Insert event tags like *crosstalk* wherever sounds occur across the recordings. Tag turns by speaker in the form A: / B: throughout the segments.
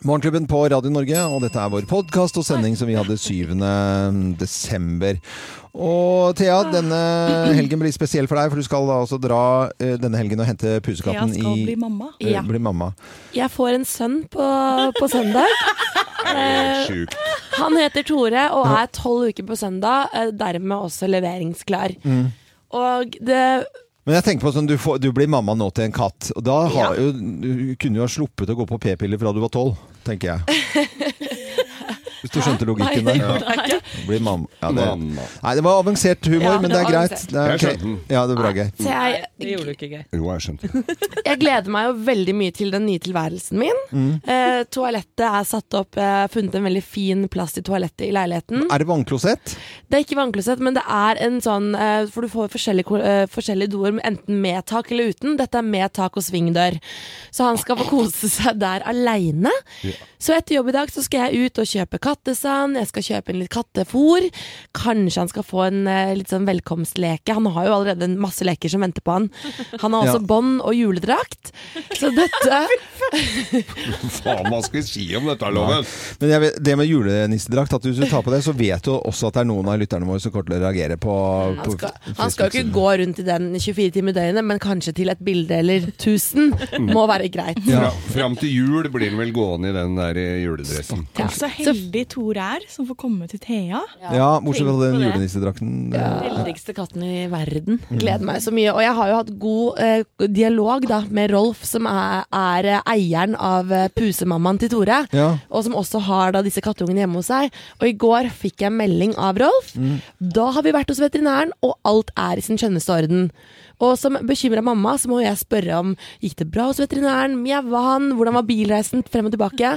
A: Morgenklubben på Radio Norge, og dette er vår podkast og sending som vi hadde 7. desember. Og Thea,
B: Ah.
A: denne helgen blir spesiell for deg, for du skal da også dra eh, denne helgen og hente
C: Thea
A: pusekatten
C: skal
A: i
C: bli mamma.
A: eh,
B: Ja.
A: bli mamma.
B: Jeg får en sønn på, på søndag. Eh,
A: Sjukt.
B: han heter Tore og er tolv uker på søndag, eh, dermed også leveringsklar. Og det
A: Men jeg tenker på sånn, du, får, du blir mamma nå til en katt. Og da har jo, du kunne jo ha sluppet å gå på p-piller fra du var tolv,
B: *laughs*
A: tenker jeg. Hvis du skjønte logikken
B: Nei,
A: der.
B: det gjorde jeg ikke.
A: Blir mamma. Ja, det,
D: Mamma.
A: nei, det var avansert humor,
B: Ja,
A: men
B: det
A: det er
B: var
A: greit.
B: avansert.
A: Det er,
D: Jeg
A: ok.
D: skjønte den.
A: Ja, det er bra gøy.
B: Så jeg,
C: Nei, det gjorde du ikke, Geir.
D: Jo, jeg skjønte det.
B: jeg gleder meg jo veldig mye til den nye tilværelsen min. Eh, toalettet er satt opp. Jeg har funnet en veldig fin plass til toalettet i leiligheten.
A: Er det vannklosett?
B: Det er ikke vannklosett, men det er en sånn eh, For du får forskjellige, ko- eh, forskjellige doer, enten med tak eller uten. Dette er med tak og svingdør. Så han skal få kose seg der aleine. Så etter jobb i dag så skal jeg ut og kjøpe kattesand, jeg skal kjøpe inn litt kattefôr. Kanskje han skal få en eh, litt sånn velkomstleke. Han har jo allerede en masse leker som venter på han. Han har
A: Ja.
B: også bånd og juledrakt. Så dette
D: Faen, *laughs* hva skal vi si om dette, Loven?
A: Men jeg vet, det med julenissedrakt, at hvis du tar på det, så vet du også at det er noen av lytterne våre som kommer til å reagere på,
B: Han
A: på
B: skal, han skal jo ikke gå rundt i den 24 timer i døgnet, men kanskje til et bilde eller 1000 må være greit.
D: Fra, fram til jul blir den vel gående i den der eh, juledressen.
B: Ja.
C: Så heldig Tore er som får komme til Thea.
A: Ja, bortsett fra den
C: Tenk på det.
A: julenissedrakten.
B: Heldigste katten i verden. Mm. Gleder meg så mye. Og jeg har jo hatt god eh, dialog da, med Rolf, som er, er eh, eieren av eh, pusemammaen til Tore.
A: Ja.
B: Og som også har da disse kattungene hjemme hos seg. Og i går fikk jeg melding av Rolf. Da har vi vært hos veterinæren, og alt er i sin skjønneste orden. Og som bekymra mamma, så må jeg spørre om gikk det bra hos veterinæren, mjaua han, hvordan var bilreisen frem og tilbake?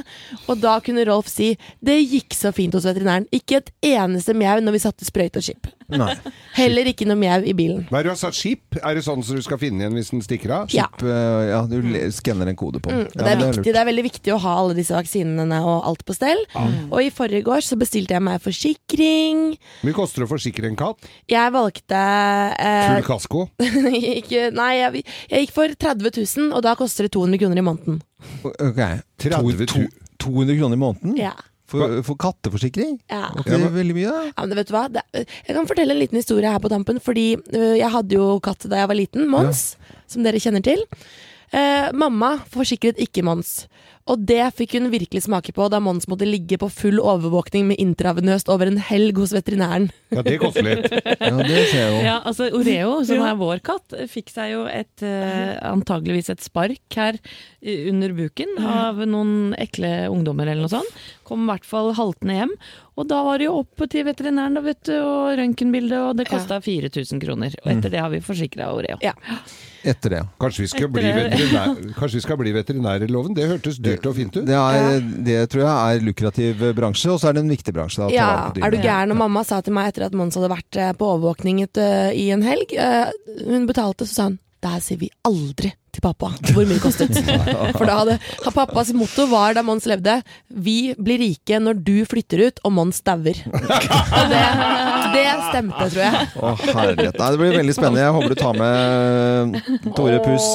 B: Og da kunne Rolf si det gikk så fint hos veterinæren. Ikke et eneste mjau når vi satte sprøyte og chip.
A: Nei.
B: Heller ikke noe mjau i bilen.
D: Hva er det du har satt skip? Er det sånn som du skal finne igjen hvis den stikker av?
B: Ja.
A: Typ, eh, ja, du le- skanner en kode på den.
B: Og Mm, det, er
A: Ja,
B: viktig,
A: lurt.
B: det er veldig viktig å ha alle disse vaksinene og alt på stell. Og i forrige gårs så bestilte jeg meg forsikring.
D: Hvor mye koster det å forsikre en katt?
B: Jeg valgte eh, *laughs*
D: Full kasko?
B: ikke, Nei, jeg, jeg gikk for 30 000, og da koster det 200 kroner i måneden.
A: Ok.
D: 30
A: To- to- 200 kroner i måneden?
B: Ja.
A: For, for katteforsikring?
B: Ja.
A: Var ikke det veldig mye,
B: *laughs*
A: da?
B: Ja, men vet du hva? Det, jeg kan fortelle en liten historie her på tampen. Fordi øh, jeg hadde jo katt da jeg var liten. Mons, som dere kjenner til. Eh, mamma forsikret ikke Mons. Og det fikk hun virkelig smake på da Mons måtte ligge på full overvåkning med intravenøst over en helg hos veterinæren.
D: Ja, det koster
A: *laughs*
D: litt.
A: Ja, det ser jeg jo.
E: Ja, altså Oreo, som er vår katt, fikk seg jo et eh, antageligvis et spark her eh, under buken av noen ekle ungdommer eller noe sånt. Kom i hvert fall haltende hjem. Og da var det jo opp til veterinæren da, vet du, og røntgenbilde, og det kosta 4000 kroner. Og
A: Mm.
E: etter det har vi forsikra Oreo.
B: Ja.
A: Etter det, ja.
D: Kanskje vi skal bli, veterinær, kanskje vi skal bli veterinærer, Loven? Det hørtes dyrt og fint ut.
A: Det, er, det tror jeg er lukrativ bransje, og så er det en viktig bransje. Da, å ta
B: Ja,
A: vare på dyrene.
B: er du gæren? Og mamma sa til meg etter at Mons hadde vært eh, på overvåkning et, eh, i en helg eh, Hun betalte, så sa hun der sier vi aldri til pappa hvor mye det kostet.
A: *laughs*
B: For da hadde ha, pappas motto var da Mons levde Vi blir rike når du flytter ut og Mons dauer. Og det, det stemte, tror jeg.
A: Å, herlighet. Nei, det blir veldig spennende. Jeg håper du tar med
B: *laughs*
A: Tore Pus.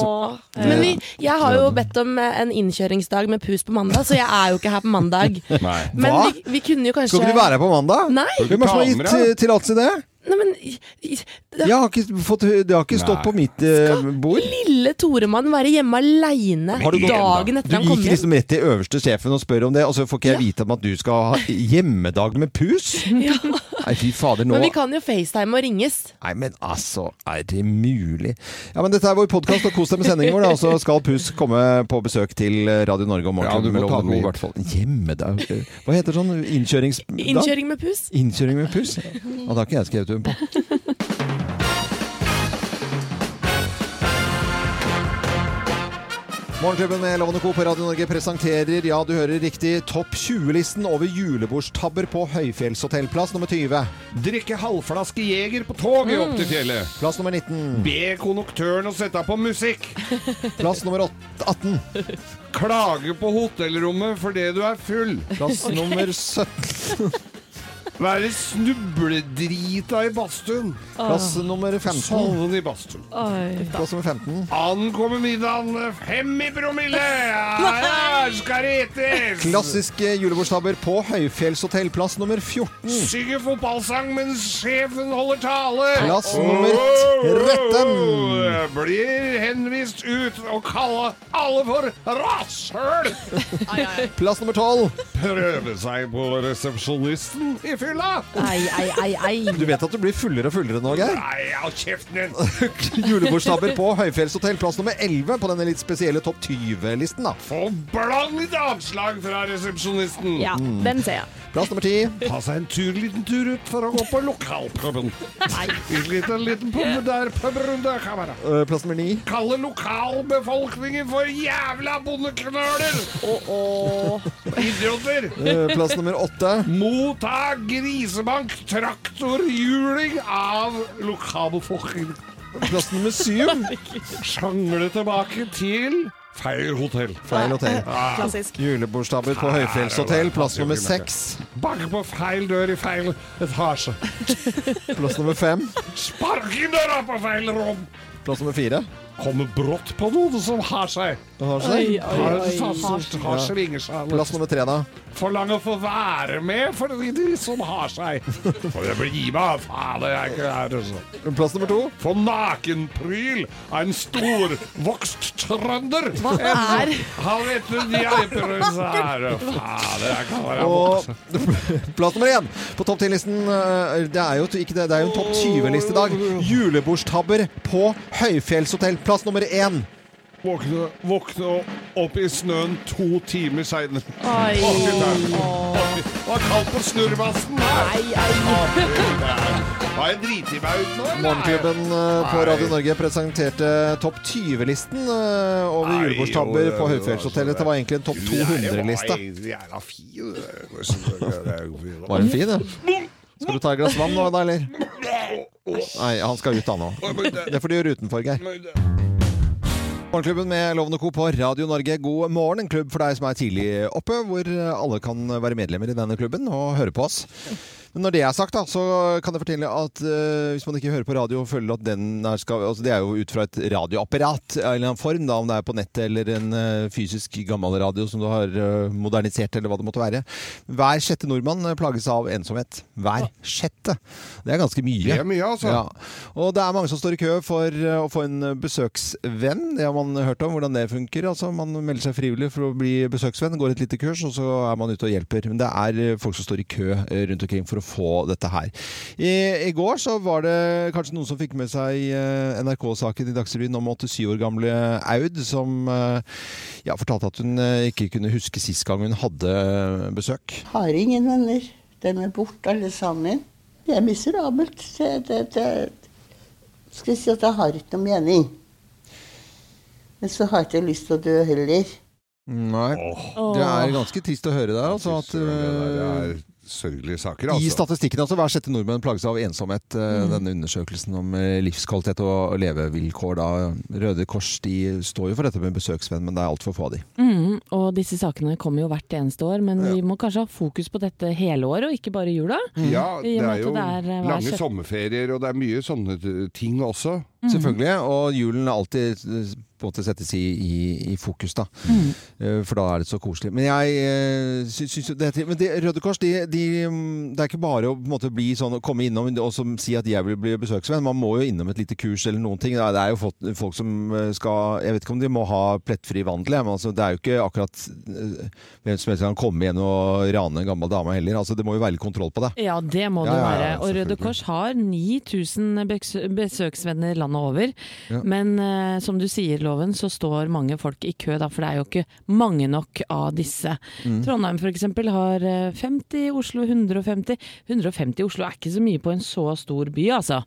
B: Men vi, jeg har jo bedt om eh, en innkjøringsdag med pus på mandag, så jeg er jo ikke her på mandag.
D: Nei.
B: Men
A: Hva?
B: vi, vi kunne jo kanskje
A: Skal ikke du være her på mandag?
B: Nei,
A: Hvem er det som har
D: Ta med
A: gitt
D: deg,
A: eh, tillatelse til det?
B: nei men i- i-
A: Jeg har ikke fått, det har ikke stått
D: Nei.
A: på mitt eh, bord.
B: lille Toremann være hjemme aleine
A: Har du gått-
B: dagen
A: Du
B: etter han
A: gikk
B: kommer hjem.
A: liksom rett til øverste sjefen og spør om det, og så får ikke jeg vite om at du skal ha hjemmedag med pus?
B: *laughs*
A: Nei, fy fader, nå
B: Men vi kan jo FaceTime og ringes.
A: Nei, men altså, er det mulig? Ja, men Dette er vår podkast, og kos deg med sendingen vår. da. Og så skal Pus komme på besøk til Radio Norge om
D: Ja, du
A: morgenen.
D: må ta den
A: i
D: hit.
A: hvert fall. Hjemmedag eh, Hva heter sånn innkjøringsdag?
B: Innkjøring med pus.
A: Innkjøring med puss? Ja, det har ikke jeg skrevet under på. Morgenklubben med Lovende Co. på Radio Norge presenterer, ja du hører riktig, topp 20-listen over julebordstabber på høyfjellshotellplass nummer 20.
D: Drikke halvflaske Jeger på toget opp
A: Mm.
D: til fjellet.
A: Plass nummer 19.
D: Be konduktøren å sette på musikk.
A: Plass nummer åt- 18.
D: Klage på hotellrommet fordi du er full.
A: Plass nummer 17.
D: Hva er det snubledrita i badstuen?
A: Plass nummer 15.
D: Salven i badstuen.
E: Oi.
A: Plass nummer 15.
D: Ankommer middagen fem i promille! Her er skal det etes!
A: Klassiske julebordstabber på høyfjellshotell. Plass nummer 14.
D: Synger fotballsang mens sjefen holder tale.
A: Plass nummer tretten.
D: Blir henvist ut og kalle alle for rasshøl.
A: Plass nummer 12.
D: Prøve seg på resepsjonisten i fylla.
B: Ei, ei, ei, ei.
A: Du vet at du blir fullere og fullere nå, Geir?
D: Nei, hold kjeften din.
A: Julebordstabber på høyfjellshotell. Plass nummer 11 på denne litt spesielle topp 20-listen. da.
D: Forblandet avslag fra resepsjonisten.
C: Ja, den ser jeg.
A: Plass nummer 10.
D: Ta seg en tur, liten tur ut for å gå på lokalpuben. En liten, liten pub der, pubrunde, kamera.
A: eh, Plass nummer 9.
D: Kalle lokalbefolkningen for jævla bondeknøler! Idioter!
A: eh, Plass nummer 8.
D: Motta grisebank traktorhjuling av lokalbefolkningen.
A: Plass nummer 7.
D: Sjangle tilbake til feil hotell.
A: Feil hotell.
C: Klassisk.
A: Julebordstabber på høyfjellshotell. Plass nummer 6.
D: Banke på feil dør i feil etasje.
A: Plass nummer 5.
D: Spark i døra på feil rom!
A: Plass nummer 4.
D: Kommer brått på noen som sånn, har seg. Har, har, har svinger seg.
A: Plass nummer 3, da.
D: Forlang å få være med for de, de som har seg. For det blir gi meg, faen, det er ikke her, altså.
A: Plass nummer 2.
D: For nakenpryl av en storvokst trønder. Hva
B: er-
D: Han vet du, de er improvisære. Faen, det er ikke hva jeg
A: Og *laughs* plass nummer én på topp 10-listen eh, Det er jo ikke det, det er jo en topp 20-liste i dag. Julebordstabber på høyfjellshotell. Plass nummer én.
D: Våkne, våkne opp i snøen to timer seinere.
E: Oi.
D: Var kaldt på snurrebassen. Nei, Har jeg driti meg ut nå? eller?
A: Morgenklubben eh, på Radio Norge presenterte topp 20-listen eh, over
D: Nei,
A: julebordstabber
D: jo,
A: på
D: det-
A: høyfjellshotellet. Det var egentlig en topp 200-liste.
D: Jævla fin. det
A: Var den fin, ja? Skal du ta et glass vann nå, da, eller? Nei, han skal ut da nå. Det får du gjøre utenfor, Geir. Morgenklubben med Lovende Co. på Radio Norge. God morgen, en klubb for deg som er tidlig oppe, hvor eh, alle kan være medlemmer i denne klubben og høre på oss. Men når det er sagt, da, så kan jeg fortelle at eh, hvis man ikke hører på radio og føler at den er skal, altså Det er jo ut fra et radioapparat av en eller annen form, da, om det er på nettet eller en eh, fysisk gammel radio som du har eh, modernisert, eller hva det måtte være. Hver sjette nordmann eh, plages av ensomhet. Hver sjette. Det er ganske mye.
D: er mye, altså.
A: Ja. Og det er mange som står i kø for eh, å få en besøksvenn. Det har man hørt om, hvordan det funker. Altså, man melder seg frivillig for å bli besøksvenn, går et lite kurs, og så er man ute og hjelper. Men det er eh, folk som står i kø eh, rundt omkring for å få dette her. I, i går så var det kanskje noen som fikk med seg eh, NRK-saken i Dagsrevyen om 87 år gamle Aud, som eh, ja, fortalte at hun eh, ikke kunne huske sist gang hun hadde eh, besøk.
F: Har ingen venner. De er borte alle sammen. Det er miserabelt. Det, det, det. Skal jeg si at jeg har ikke noe mening. Men så har jeg ikke lyst til å dø heller.
A: Nei. Det er ganske trist å høre der, altså. At, eh,
D: er sørgelige saker,
A: I statistikken altså, hver sjette nordmenn plages av ensomhet. eh, Denne undersøkelsen om eh, livskvalitet og levevilkår. Da. Røde Kors de står jo for dette med besøksvenn, men det er altfor få av de.
E: Mm, og disse sakene kommer jo hvert eneste år, men vi må kanskje ha fokus på dette hele året, og ikke bare i jula.
D: Ja,
E: I
D: det er
E: og med at
D: jo
E: det er, eh, hver
D: lange
E: sjette-
D: sommerferier, og det er mye sånne t- ting også.
A: Selvfølgelig, og julen er alltid eh, på en måte settes i, i, i fokus, da. Eh, For da er det så koselig. Men jeg eh, sy- syns jo det, Men det, Røde Kors, de, de, mm, det er ikke bare å på en måte bli sånn, å komme innom og som, si at jeg vil bli besøksvenn. Man må jo innom et lite kurs eller noen ting. Det er jo fått- folk som eh, skal Jeg vet ikke om de må ha plettfri vandel, jeg, men altså, det er jo ikke akkurat eh, hvem som helst kan komme igjen og rane en gammel dame heller. Altså, det må jo være litt kontroll på det.
E: Ja, det må det
A: Ja, ja, ja,
E: være. Og Røde
A: selvfølgelig.
E: Kors har 9000 besø- besøksvenner landet over. Men eh, som du sier, Loven, så står mange folk i kø, da, for det er jo ikke mange nok av disse.
A: Mm.
E: Trondheim f.eks. har eh, 50, Oslo 150. 150 i Oslo er ikke så mye på en så stor by, altså.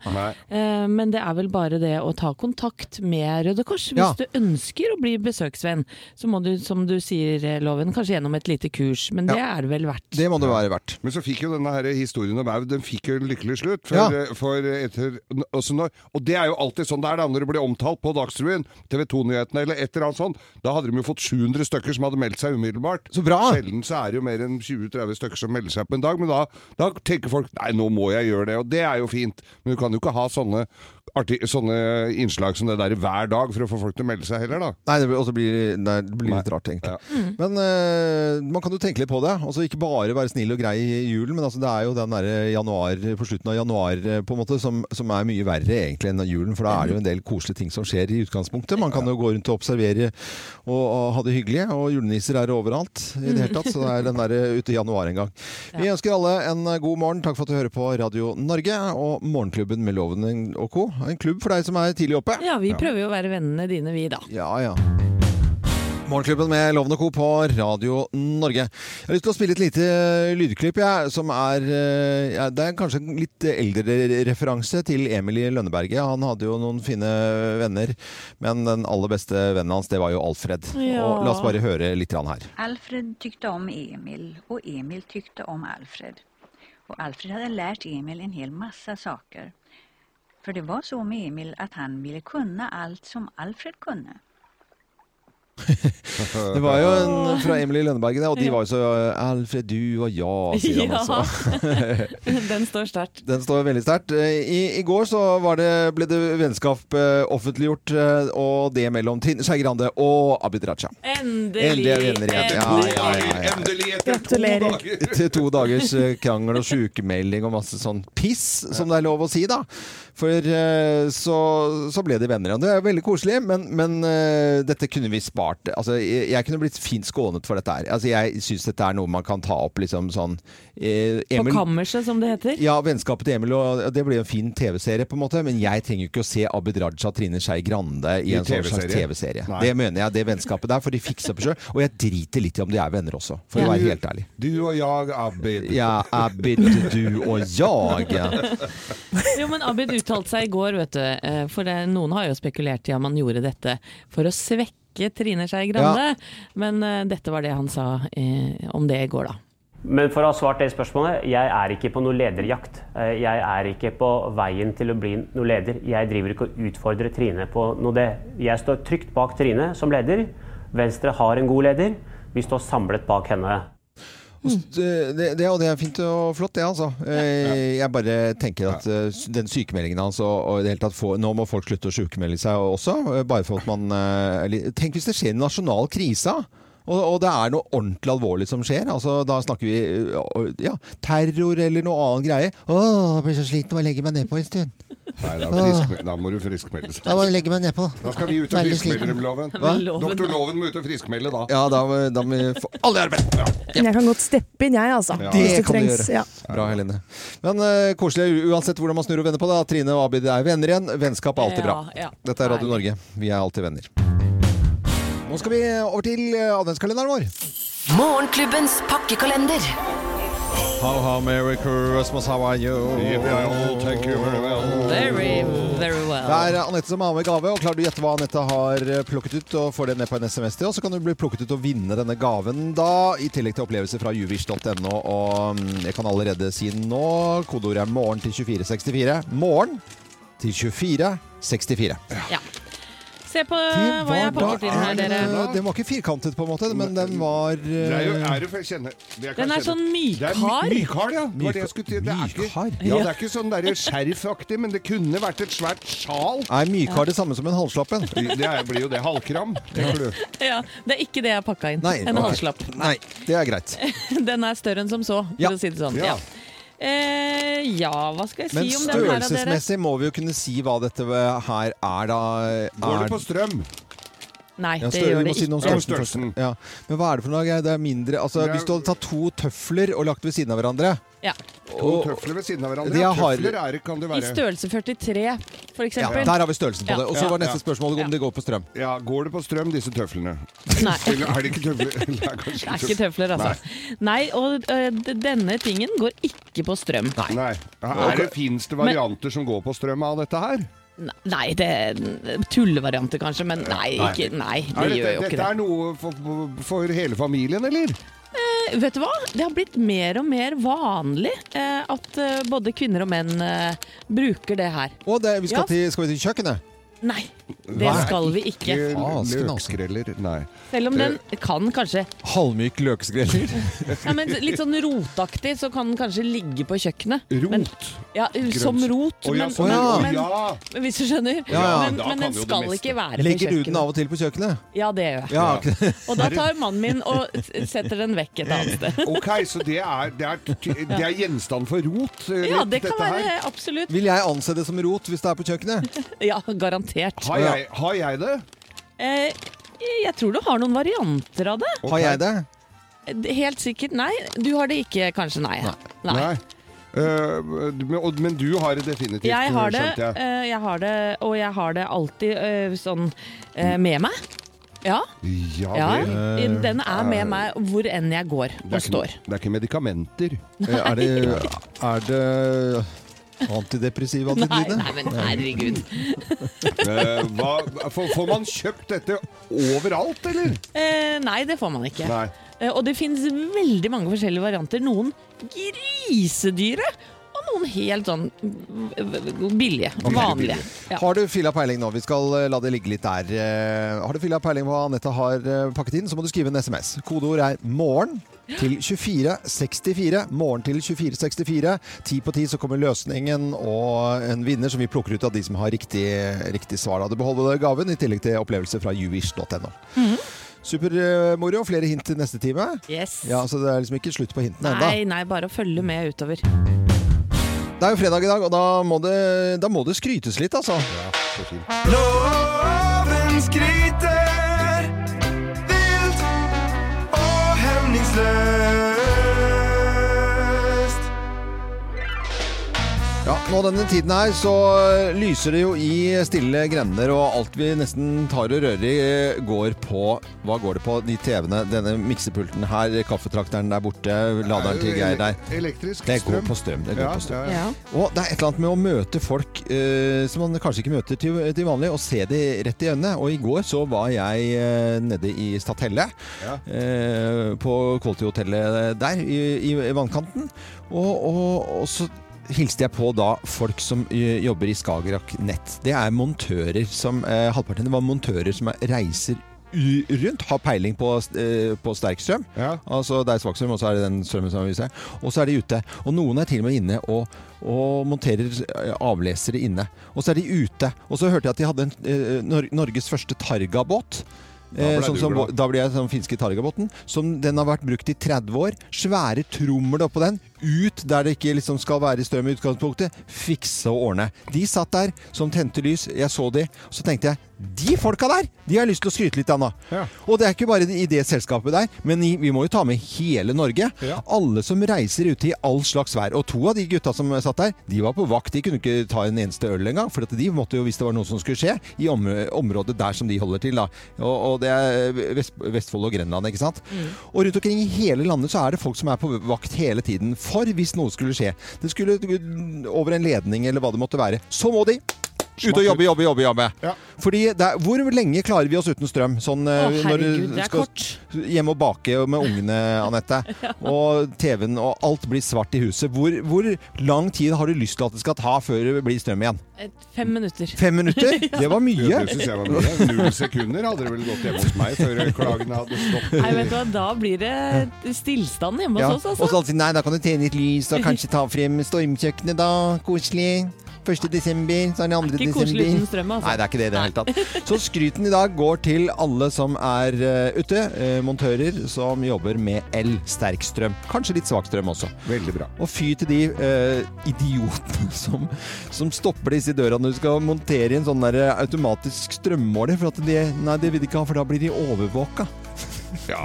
E: Eh, Men det er vel bare det å ta kontakt med Røde Kors. Hvis
A: Ja.
E: du ønsker å bli besøksvenn, så må du, som du sier, eh, Loven, kanskje gjennom et lite kurs. Men det er det vel verdt.
A: Det må det være verdt.
D: Men så fikk jo denne her historien om Aud den fikk jo en lykkelig slutt. For,
A: Ja.
D: for etter, også når, og det er jo alltid sånn det er da, når det blir omtalt på Dagsrevyen. TV 2-nyhetene eller et eller annet sånt, da hadde de jo fått 700 stykker som hadde meldt seg umiddelbart.
A: Så bra!
D: Sjelden så er det jo mer enn 20-30 stykker som melder seg på en dag, men da, da tenker folk nei, nå må jeg gjøre det, og det er jo fint. Men du kan jo ikke ha sånne, arti sånne innslag som det der hver dag for å få folk til å melde seg heller, da.
A: Nei, det blir, også blir, nei, det blir litt rart, egentlig. Men eh, man kan jo tenke litt på det. Altså, ikke bare være snill og grei i julen, men altså, det er jo den der januar, på slutten av januar eh, på en måte, som, som er mye verre egentlig enn julen. For da er det jo en del koselige ting som skjer i utgangspunktet. Man kan jo gå rundt og observere og, og ha det hyggelig. Og julenisser er overalt i det hele tatt. Så det er den der eh, ute i januar en gang. Vi ønsker alle en eh, god morgen. Takk for at du hører på Radio Norge og Morgenklubben med Loven og co. En klubb for deg som er tidlig oppe.
E: Ja, vi prøver jo å være vennene dine, vi, da.
A: Ja, ja. Morgenklubben med Loven og Co. på Radio Norge. Jeg har lyst til å spille et lite eh, lydklipp, jeg, som er eh, ja, Det er kanskje en litt eldre referanse til Emilie Lønneberget. Han hadde jo noen fine venner, men den aller beste vennen hans, det var jo Alfred.
E: Ja.
A: Og la oss bare høre litt grann her.
G: Alfred tyckte om Emil och Emil tyckte om Alfred. Och Alfred hade lärt Emil en hel massa saker. För det var så med Emil att han ville kunna allt som Alfred kunde.
A: Det var jo en fra Emilie Lønneberget, det, og de var jo så eh, Alfred, du og jeg, sier han også.
E: Den står sterkt.
A: Den står veldig sterkt. Eh, I, I går så var det, ble det vennskap eh, offentliggjort, eh, og det mellom Trine Skei Grande og Abid Raja. *laughs* Endelig er vi venner igjen. Ja, ja, ja, ja.
D: Endelig etter
C: Gratulerer.
D: to dager!
A: Etter to dagers eh, krangel og sykemelding og masse sånn piss, som det er lov å si, da. For eh, så, så ble de venner igjen. Det er jo veldig koselig, men, men eh, dette kunne vi spart. Altså, jeg, jeg kunne blitt fint skånet for dette her. Altså, jeg syns dette er noe man kan ta opp liksom sånn eh,
E: På
A: Emil
E: kammerset, som det heter.
A: ja, vennskapet til Emil, og det blir jo en fin TV-serie på en måte, men jeg trenger jo ikke å se Abid Raja og Trine Skei Grande i
D: I
A: en sånn slags
D: TV-serie.
A: TV-serie.
D: Nei.
A: Det mener jeg, det vennskapet der, for de fikser på sjøl. Og jeg driter litt i om de er venner også, for å være helt ærlig.
D: Du og jeg, Abid.
A: Ja, Abid, du og jeg.
E: *laughs* Jo, men Abid uttalte seg i går, vet du. eh, For det, noen har jo spekulert i om han gjorde dette for å svekke Trine Skei Grande. Men eh, dette var det han sa eh, om det i går, da.
H: Men for å ha svart det spørsmålet, jeg er ikke på noe lederjakt. Eh, Jeg er ikke på veien til å bli noe leder. Jeg driver ikke og utfordrer Trine på noe det. Jeg står trygt bak Trine som leder. Venstre har en god leder. Vi står samlet bak henne.
D: Mm.
A: eh, Det, det, og det er fint og flott, det, altså. Eh, Jeg bare tenker at eh, den sykemeldingen hans og, og i det hele tatt få, Nå må folk slutte å sykemelde seg også, eh, bare for at man eh, li- Tenk hvis det skjer en nasjonal krise! Og, og det er noe ordentlig alvorlig som skjer. Altså, da snakker vi eh, ja, terror eller noe annen greie. Å, jeg blir så sliten av å legge meg nedpå en stund.
D: Nei, da, friskme- da må du friskmelde seg.
A: Da må jeg legge meg nedpå.
D: Da skal vi ut og
A: Veldig
D: friskmelde dem, Loven.
E: Loven.
D: Doktor Loven må ut og friskmelde da.
A: Ja, da, må- da må vi få alle i arbeid! Ja.
C: Jeg kan godt steppe inn, jeg, altså.
D: Ja.
A: Det
C: hvis det
A: kan du
C: trengs.
A: gjøre.
C: Ja.
A: Bra, Helene. Men eh, koselig u- uansett hvordan man snur og vender på det. at Trine og Abid er venner igjen. Vennskap er alltid bra.
E: Ja, ja.
A: Dette er Radio Norge. Vi er alltid venner. Nå skal vi over til eh, adventskalenderen vår.
I: Morgenklubbens pakkekalender.
A: How, how, merry Christmas, how are you?
E: Very, very well.
A: Det er Anette som har med gave, og klarer du å gjette hva Anette har eh, plukket ut, og får det ned på en SMS til oss, så kan du bli plukket ut og vinne denne gaven da, i tillegg til opplevelser fra juvish.no. Og mm, jeg kan allerede si nå, kodeordet er morgen til 2464. Morgen til 2464.
E: Se på Eh, hva jeg har pakket inn her, dere.
A: eh, Den var ikke firkantet, på en måte, men den var
D: Det er jo,
A: eh,
D: er det, for jeg kjenner, det jeg kan
E: Den er
D: kjenne.
E: sånn
D: Det er
E: mykar.
D: my- mykar, ja. Det, var det, jeg skulle til. det, er ikke,
A: Mykar?
D: ja, det er ikke sånn der skjerfaktig, men det kunne vært et svært sjal.
A: Nei, mykar det samme som en halvslappen.
D: Det er, blir jo det halvkram, tenker du.
E: Ja, det er ikke det jeg har pakka inn.
A: Nei,
E: en
A: ok.
E: halvslapp. *laughs*
A: Nei, det er greit.
E: Den er større enn som så, for
A: Ja.
E: å si det sånn.
D: Ja.
E: Ja. Eh, ja, hva skal jeg si
A: Men
E: om den her, da, dere?
A: størrelsesmessig må vi jo kunne si hva dette her er, da.
D: Går det
A: Er
D: på strøm?
E: Nei,
A: Ja,
E: det
A: større-
E: gjør
A: vi
E: det
A: må si noe om
E: ikke.
D: Ja,
A: størrelsen først.
D: størrelsen.
A: Ja. Men hva er det for noe? Geir? Det er mindre altså,
D: Det er-
A: Hvis du hadde tatt to tøfler og lagt ved siden av hverandre
E: Ja.
D: To tøfler ved siden av hverandre.
A: Det
D: Ja,
A: jeg har-
D: Tøfler er det, kan det
E: I
D: være.
E: størrelse 43, for
A: ja,
E: eksempel.
A: Der har vi størrelsen på
E: Ja.
A: det. Og så
D: Ja,
A: var neste
D: ja.
A: spørsmål om
E: Ja.
A: det går på strøm.
D: Ja, går det på strøm, disse tøflene?
E: Nei.
D: *laughs* Eller er det ikke tøfler? *laughs* Det er kanskje
E: Det er ikke tøfler, altså. Nei, og ø, d- denne tingen går ikke på strøm. Nei,
D: Nei. Er det, Fins det varianter som går på strøm av dette her?
E: nei det er tullevarianter kanskje, men nei, ikke, nei det
D: Er dette,
E: gjør jo
D: dette
E: ikke det.
D: er noe for, for hele familien, eller?
E: Eh, Vet du hva? Det har blitt mer og mer vanlig eh, at eh, både kvinner og menn eh, bruker det her.
A: Og det, vi skal,
E: Ja.
A: til, skal vi til kjøkkenet?
E: Nei, Det skal vi ikke.
A: Fasken, altså.
D: Løkskreller. Nei.
E: Selv om den kan kanskje
A: Halvmyk løksgreller.
E: ja, men Litt sånn rotaktig, så kan den kanskje ligge på kjøkkenet. Men,
D: Rot.
E: ja, som rot,
D: Å ja,
E: men,
D: sånn, ja.
E: men,
D: ja.
E: men hvis du skjønner.
A: ja,
E: men,
D: da
E: men
D: kan
E: den
D: jo det
E: skal
D: meste.
E: ikke være på
A: Legger du den
E: kjøkkenet.
A: av og til på kjøkkenet?
E: Ja, det gjør jeg.
A: Ja, ok. *laughs*
E: Og da tar mannen min og s- setter den vekk et annet sted.
D: Ok, så det er, det er, det er gjenstand for rot? eh,
E: *laughs* Ja, det kan
D: dette her.
E: være absolutt.
A: Vil jeg anse det som rot hvis det er på kjøkkenet?
E: Ja, garantert.
D: Har jeg, har jeg det?
E: Eh, jeg tror du har noen varianter av det.
A: Har jeg det?
E: Eh, Helt sikkert nei. Du har det ikke, kanskje nei. Nei.
D: Eh, men, og- men du har det definitivt,
E: Jeg har det,
D: skjønte jeg.
E: eh, jeg har det, og jeg har det alltid eh, sånn eh, med meg. Ja,
D: Ja,
E: ja.
D: vel.
E: Den er med meg hvor enn jeg går
D: Det
E: og
D: er, ikke,
E: står.
D: det er ikke medikamenter.
A: Eh, Er det, *laughs* er det antidepressiv
E: Nei,
A: antidepressiva?
E: nei, men herregud.
D: Eh, hva, får, får man kjøpt dette overalt, eller?
E: Eh, nei, det får man ikke.
D: Nei.
E: Eh, og det finnes veldig mange forskjellige varianter. Noen grisedyre, og noen helt sånn mm, billige. Vanlige. Ja.
A: Har du filla peiling nå? Vi skal eh, la det ligge litt der. Eh, Har du filla peiling på hva Anette har eh, pakket inn, så må du skrive en SMS. Kodeord er 'morgen' til 2464. Morgen til 2464. Ti på ti så kommer løsningen og en vinner som vi plukker ut av de som har riktig, riktig svar. Da. Du beholder gaven i tillegg til opplevelse fra youish.no.
E: Mhm.
A: Supermoro. Flere hint til neste time.
E: Yes.
A: Ja, Så det er liksom ikke slutt på hintene ennå.
E: Nei, nei, bare å følge med utover.
A: Det er jo fredag i dag, og da må det, da må det skrytes litt, altså.
J: Loven skryter vilt og hemningsløst.
A: Ja, Nå denne tiden her så eh, lyser det jo i stille grender, og alt vi nesten tar og rører i, eh, går på Hva går det på? De TV-ene, denne miksepulten her, kaffetrakteren der borte, laderen til Geir der.
D: Elektrisk
A: Det går
D: strøm.
A: på strøm. Det går på strøm.
D: Ja, ja.
E: Ja.
A: Og det er et eller annet med å møte folk eh, som man kanskje ikke møter til, til vanlig, og se de rett i øynene. Og i går så var jeg eh, nede i Stathelle,
D: Ja.
A: eh, på Quality-hotellet der i, i, i vannkanten. Og, og, og så hilste jeg på da folk som eh, jobber i Skagerrak Nett. Det er montører som eh, Halvparten var montører som reiser u- rundt, har peiling på, eh, på sterkstrøm.
D: Ja.
A: Altså det er svakstrøm, og så er det den strømmen som viser seg. Og så er de ute. Og noen er til og med inne og, og monterer eh, avlesere inne. Og så er de ute. Og så hørte jeg at de hadde en, eh, Nor Norges første targabåt. Eh,
D: ble
A: sånn
D: du
A: som,
D: glad.
A: da ble jeg sånn finske targabåten. Som den har vært brukt i 30 år. Svære trommer oppå den. Ut der det ikke liksom skal være strøm i utgangspunktet. Fikse og ordne. De satt der som tente lys. Jeg så de. Så tenkte jeg de folka der! De har jeg lyst til å skryte litt av nå.
D: Ja.
A: Og det er ikke bare i det selskapet der, men i, vi må jo ta med hele Norge.
D: Ja.
A: Alle som reiser ute i all slags vær. Og to av de gutta som satt der, de var på vakt. De kunne ikke ta en eneste øl engang, for at de måtte jo, hvis det var noe som skulle skje, i om, området der som de holder til. Da. Og, og det er Vest, Vestfold og Grenland, ikke sant? Og rundt omkring i hele landet så er det folk som er på vakt hele tiden. For hvis noe skulle skje, det skulle over en ledning eller hva det måtte være, så må de ut og jobbe, jobbe, jobbe. jobbe.
D: Ja.
A: Fordi det er, hvor lenge klarer vi oss uten strøm? Sånn,
E: Å,
A: eh, når du
E: herregud, det er
A: skal
E: kort.
A: Hjemme og bake med ungene,
E: *laughs*
A: Anette. Og TV-en og alt blir svart i huset. Hvor, hvor lang tid har du lyst til at det skal ta før det blir strøm igjen?
E: Et, fem minutter.
A: Fem
E: *laughs*
A: minutter? Det var mye.
D: Det synes jeg var mye. Null sekunder hadde det vel gått hjemme hos meg før klagene hadde stoppet.
E: Nei, vet du hva, da blir det stillstand hjemme
A: Ja. Og
E: hos oss,
A: så
E: altså.
A: alltid nei, da kan du tjene litt lys og kanskje ta frem stormkjøkkenet da. Koselig. 1. desember, så er det 2.
E: Ikke
A: desember.
E: koselig uten strøm, altså.
A: Nei, det er ikke det i det hele
E: *laughs*
A: tatt. Så skryten i dag går til alle som er eh, ute, eh, montører som jobber med el-sterkstrøm. Kanskje litt svakstrøm også.
D: Veldig bra.
A: Og fy til de eh, idiotene *laughs* som, som stopper disse døra når du skal montere inn sånn der eh, automatisk strømmåler. For at de, nei, det vil de ikke ha, for da blir de overvåka.
D: Ja.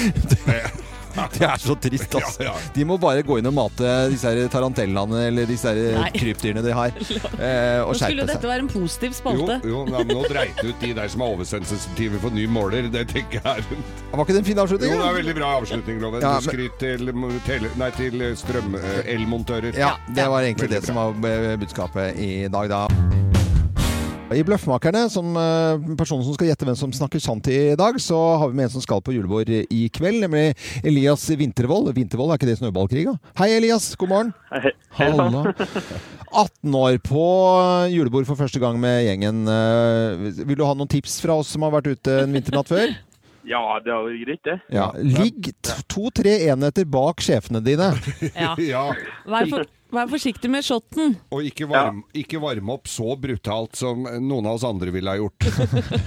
A: *laughs* Det er så trist, altså.
D: Ja, ja.
A: De må bare gå inn og mate disse her tarantellaene eller disse her
E: Nei.
A: krypdyrene de
E: *laughs*
A: har. eh, og
E: Nå skulle
A: skjerpe
E: jo dette
A: seg.
E: være en positiv
D: Jo,
E: spalte.
D: jo nei, men nå dreit det ut de der som er oversensitive for ny måler. Det tenker jeg er en-
A: Var ikke det en fin
D: Jo,
A: avslutning?
D: det
A: da?
D: er veldig bra avslutning, Loven.
A: Ja,
D: Du
A: men-
D: Skryt til, mo- tele, nei, til strøm... eh, Elmontører.
A: Ja, det var egentlig
D: Veldig
A: det som var eh, budskapet i dag, da. I Bløffmakerne, som eh, personen som skal gjette hvem som snakker sant i dag, så har vi med en som skal på julebord i kveld, nemlig Elias Vintervold. Vintervold, er ikke det snøballkrig, da? Hei, Elias. God morgen.
K: Hei.
A: Halla. 18 år på eh, julebord for første gang med gjengen. Eh, Vil du ha noen tips fra oss som har vært ute en vinternatt før?
K: Ja, det er jo greit, det.
A: Ja. Ligg t- to-tre enheter bak sjefene dine.
E: Ja. Vær, for, vær forsiktig med shotten.
D: Og ikke varme, ikke varme opp så brutalt som noen av oss andre ville ha gjort.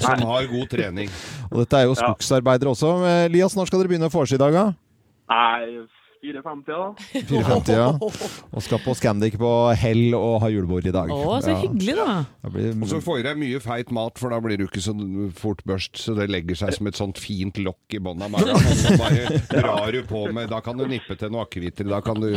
D: Som har god trening.
A: Og dette er jo skogsarbeidere også. Eh, Elias, når skal dere begynne vorset i dag, da?
K: Nei, 4-5 da.
A: 4.50,
D: *laughs*
A: ja. Og skal på Scandic på hell og ha julebord i dag. Ja.
E: da.
A: Det blir-
D: Og så får jeg deg mye feit mat, for da blir du ikke så fort børst. Så det legger seg som et sånt fint lokk i bånn av meg. Og så bare drar du på med Da kan du nippe til noen akevitter. Da kan du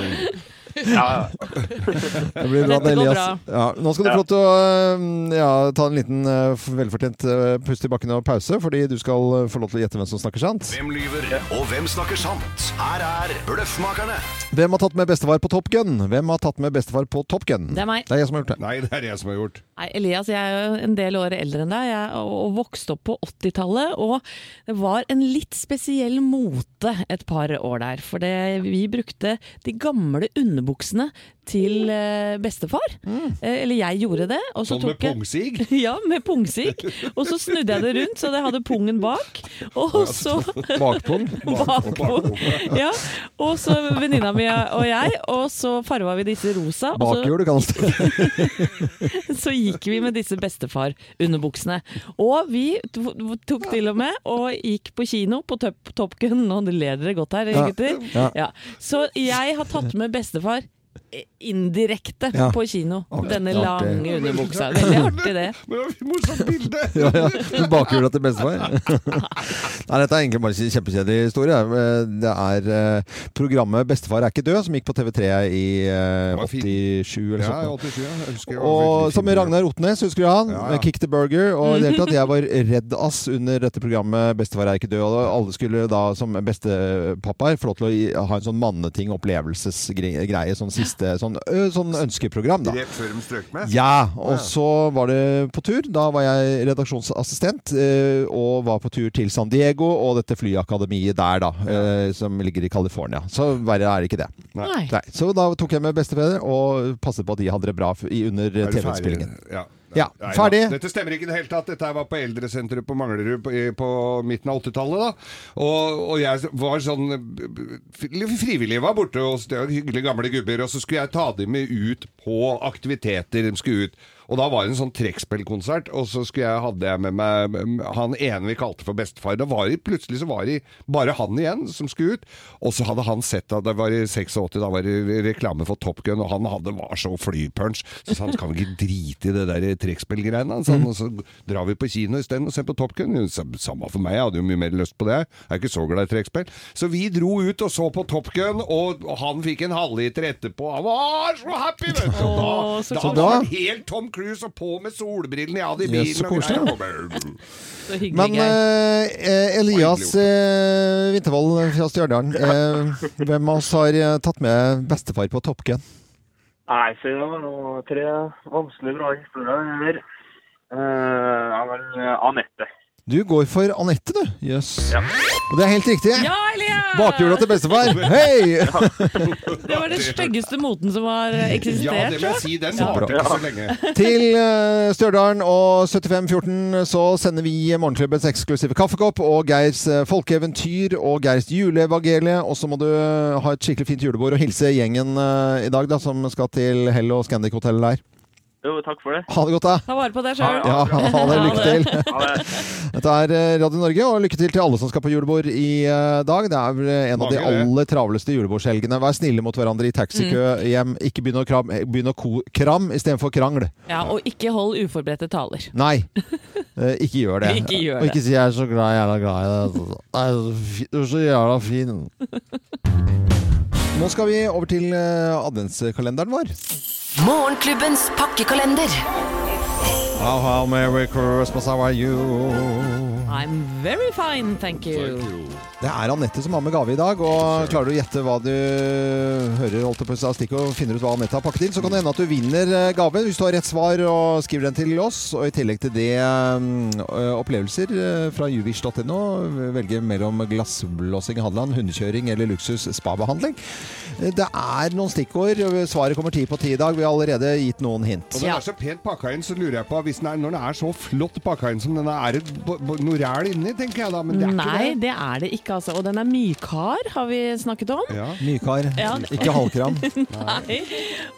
K: Ja.
A: Det blir bra,
D: Dette går
A: Elias.
D: bra.
A: Ja, nå skal du få lov til å øhm, ja, ta en liten øh, velfortjent øh, pust i bakken og pause, fordi du skal øh, få lov til å gjette hvem som snakker sant.
J: Hvem lyver, og hvem snakker sant? Her er Bløffmakerne.
A: Hvem har tatt med bestefar på Top Gun? Hvem har tatt med bestefar på Top Gun?
E: Det er meg.
A: Det er jeg som har gjort det.
D: Nei, det er jeg som har gjort.
E: Nei, Elias, jeg er jo en del år eldre enn deg, jeg, og, og vokste opp på 80-tallet. Og det var en litt spesiell mote et par år der. For det, vi brukte de gamle underbuksene til eh, bestefar. Eh, eller jeg gjorde det. og så
D: Mm. Sånn med
E: tok jeg-
D: pungsig?
E: *laughs* Ja, med pungsig. Og så snudde jeg det rundt, så det hadde pungen bak. Og
D: *laughs*
E: så *laughs*
A: Bakpung?
E: Bakpung. Ja. Og så venninna mi og jeg, og så farva vi disse rosa. og så-
A: Bakhjul, kalles det.
E: *laughs* så gikk vi med disse bestefar-underbuksene. Og vi to- tok til og med og gikk på kino på Top Top Gun. Nå ler dere godt her,
L: Ja.
E: gutter.
L: Ja.
E: Ja. Så jeg har tatt med bestefar eh, indirekte
L: Ja.
E: på kino.
A: Artig.
E: Denne
A: Artig.
E: lange underbuksa. Veldig artig, det.
D: Morsomt sånn bilde!
A: *laughs* Ja, ja. Bakhjula til
D: *laughs*
A: bestefar. Nei, dette er egentlig bare en kjempekjedelig historie. Eh, Det er eh, programmet 'Bestefar er ikke død', som gikk på TV3 i eh, 87 eller
D: Ja,
A: sånt.
D: 87, ja. Jeg husker jeg var
A: Og
D: veldig
A: som
D: fin.
A: Ragnar Otnes, husker du han?
D: Ja, ja.
A: Kick the Burger. Og i det hele tatt,
D: *laughs*
A: jeg var redd ass under dette programmet 'Bestefar er ikke død'. Og alle skulle da som bestepappaer få lov til å gi- ha en sånn manneting, opplevelsesgreie, sånn siste sånn, ø, sånn ønskeprogram, da.
J: Rett før de strøk med?
A: Ja, og så var det på tur. Da var jeg redaksjonsassistent eh, og var på tur til San Diego og dette flyakademiet der, da, eh, som ligger i California. Så verre er det ikke det.
D: Nei.
A: Så da tok jeg med bestefedre og passet på at de hadde det bra f- i- under eh,
D: Er du ferdig?
A: TV-innspillingen.
D: Ja.
A: Ja,
D: Nei,
A: ferdig.
D: da. Dette stemmer ikke i det hele tatt. Dette her var på eldresenteret på Manglerud på, i- på midten av 80-tallet. da. Og, og jeg var sånn b- b- fri- Frivillige var borte hos det var hyggelige gamle gubber, og så skulle jeg ta dem med ut på aktiviteter. De skulle ut. Og da var det en sånn trekkspillkonsert, og så skulle jeg, hadde jeg med meg mm, han ene vi kalte for bestefar. Da var det plutselig så var det bare han igjen som skulle ut. Og så hadde han sett at det var i 86, da var det reklame for Top Gun, og han hadde var så flypunch. Så sa han kan vi ikke drite i det der trekkspillgreiene. Han sa, og så drar vi på kino isteden og ser på Top Gun. Sa- Samme for meg, jeg hadde jo mye mer lyst på det. Jeg er ikke så glad i trekkspill. Så vi dro ut og så på Top Gun, og han fikk en halvliter etterpå. Han var så happy, vet du! Og
J: Åh, så
D: Da, da
J: koselig.
D: var han helt Tom Cruise og på med solbrillene jeg hadde i bilen.
A: Yes, så
D: og
A: koselig.
D: greier.
A: Men eh, eh, Elias eh, Vintervold fra Stjørdal, eh, hvem av oss har eh, tatt med bestefar på Top Gun?
K: Nei, så det var noe tre vanskelige bra historier her. Eh, ja, vel, Anette.
A: Du går for Anette, du. Jøss. Og det er helt riktig.
E: Ja, Elias!
A: Bakhjula til bestefar. Hei!
E: Det var den styggeste moten som har eh, eksistert.
A: Ja, det må jeg
E: tror
A: si, den
E: Ja.
A: varte ikke så Til eh, Stjørdalen og 7514 så sender vi Morgenklubbens eksklusive kaffekopp og Geirs eh, folkeeventyr og Geirs juleevangelie. Og så må du eh, ha et skikkelig fint julebord og hilse gjengen eh, i dag, da, som skal til Hell og Scandic-hotellet der.
K: Jo, takk for det.
A: Ha det godt, da.
E: Ta vare på deg
K: Ha
E: sjøl.
K: det.
A: Ja, *laughs* ha det. Lykke til.
K: *laughs* Ha det.
A: Dette er eh, Radio Norge, og lykke til til alle som skal på julebord i eh, dag. Det er vel eh, en av de
D: Mange, det.
A: aller travleste julebordshelgene. Vær snille mot hverandre i taxikø
E: Mm.
A: hjem. Ikke begynn å kram, eh, begynn å ko- kram istedenfor krangl.
E: Ja, og ikke hold uforberedte taler.
A: Nei, Eh, ikke gjør det.
E: *laughs* Ikke gjør
A: Og ikke
E: det.
A: si 'jeg er så glad, jævla glad i deg'. altså. Nei, du er så fi- Du er så jævla fin. altså. *laughs* Nå skal vi over til eh, adventskalenderen vår.
I: Morgenklubbens pakkekalender.
A: How, how merry Christmas, how are you?
E: I'm very fine, thank you.
A: Det Det er Anette som har med gave i dag, og klarer du å gjette hva du hører, holdt jeg på å si, av stikk og finner ut hva Anette har pakket inn, så kan det hende at du vinner eh, gave hvis du har rett svar og skriver den til oss. Og i tillegg til det mm, ø, opplevelser eh, fra juvish.no. Velge mellom glassblåsing i Hadeland, hundekjøring eller luksus spabehandling. Eh, Det er noen stikkord. og Svaret kommer ti på ti i dag. Vi har allerede gitt noen hint.
D: Og den er så pent pakka inn, så lurer jeg på hvis den er, når den er så flott pakka inn som denne, er det bo- bo- noe ræl inni, tenker jeg da. Men det er
E: Nei,
D: ikke det.
E: det er det ikke, altså. Og den er mykar, har vi snakket om.
D: Ja.
A: Mykar,
E: Ja.
A: ikke *laughs* halvkram.
E: Nei. *laughs*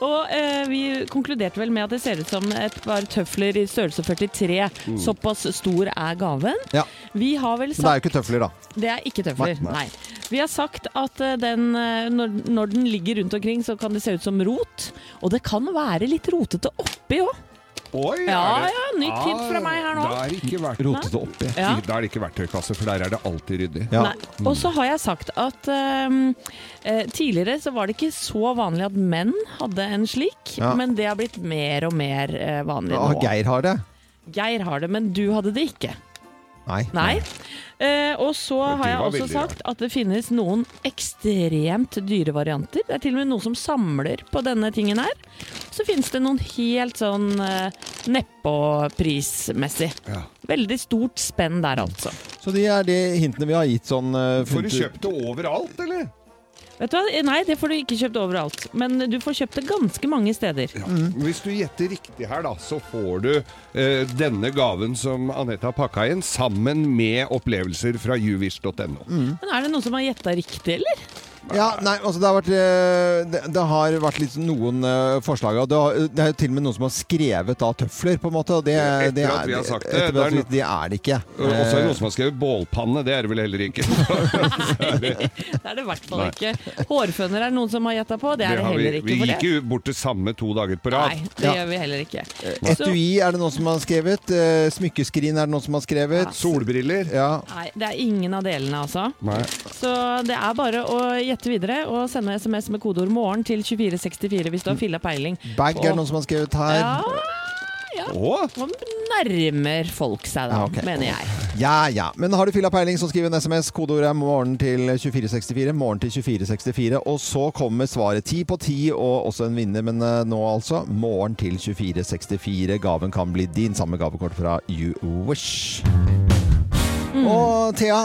E: Og eh, vi konkluderte vel med at det ser ut som et par tøfler i størrelse 43.
A: Mm.
E: Såpass stor er gaven.
A: Ja.
E: Vi har vel
A: Men det er
E: sagt
A: jo ikke tøfler, da.
E: Det er ikke tøfler,
A: Nei,
E: nei.
A: nei.
E: Vi har sagt at eh, den, eh, når, når den ligger rundt omkring, så kan det se ut som rot. Og det kan være litt rotete oppi òg.
D: Oi,
E: Ja,
D: er det-
E: ja, nytt tips fra meg her nå.
D: Da er det ikke verdt
E: Rotete
D: oppi.
E: Ja.
D: Da er det ikke verktøykasse, for der er det alltid ryddig.
A: Mm.
E: Nei. Og så har jeg sagt at ehm, eh, tidligere så var det ikke så vanlig at menn hadde en slik,
A: Ja.
E: men det har blitt mer og mer eh, vanlig
A: Ah,
E: nå.
A: Geir har det.
E: Geir har det, men du hadde det ikke.
A: Nei.
E: Nei. Eh, og så
A: Men det
E: har jeg
A: var
E: også
A: veldig
E: sagt at det finnes noen ekstremt dyre varianter. Det er til og med noen som samler på denne tingen her. Så finnes det noen helt sånn eh, neppå-prismessig. Veldig stort spenn der, altså.
A: Så de er de hintene vi har gitt sånn eh,
D: Får du
A: funnet ut-
D: kjøpt det overalt, eller?
E: Vet du hva? Eh, Nei, det får du ikke kjøpt overalt. Men du får kjøpt det ganske mange steder.
D: Mm. Hvis du gjetter riktig her, da, så får du eh, denne gaven som Anette har pakka inn, sammen med opplevelser fra juvish.no.
E: Men er det noen som har gjetta riktig, eller?
A: Ja, nei, altså det har vært, eh, det, det har vært litt noen eh, forslag. Og det, har, det er jo til og med noen som har skrevet da tøfler, på en måte. Og det,
D: Etter
A: det
D: at
A: er-
D: vi har sagt det,
A: etter
D: det er
A: at vi-
D: no-
A: det er det ikke.
D: Og så
E: Eh.
D: er det noen som har skrevet 'bålpanne'. Det er det vel heller
E: *laughs*
D: ikke.
E: Det er det i hvert fall
D: Nei.
E: ikke. Hårføner er det noen som har gjetta på. Det er det,
D: har
E: heller
D: vi,
E: ikke.
D: vi
E: for
D: gikk
E: det.
D: jo bort til samme to dager på rad.
E: Nei, det gjør vi heller ikke.
D: Eh,
E: Så-
A: Eh, Etui er det noen som har skrevet. eh, Smykkeskrin er det noen som har skrevet.
D: Solbriller.
A: Ja.
E: Nei, det er ingen av delene, altså.
D: Nei.
E: Så det er bare å gjette videre og sende SMS med kodeord 'morgen' til 2464 hvis du har filla peiling.
A: Bag er
E: Og-
A: det noen som har skrevet her.
E: Ja, ja. Nå nærmer folk seg da,
A: Ja, ok.
E: mener jeg.
A: Ja, ja. Men har du fylla peiling, så skriv en SMS. Kodeordet er 'morgen' til 2464. Morgen til 2464. Og så kommer svaret. Ti på ti og også en vinner, men eh, nå altså. Morgen til 2464. Gaven kan bli din. Samme gavekort fra You Wish.
B: Mm.
A: Og Thea,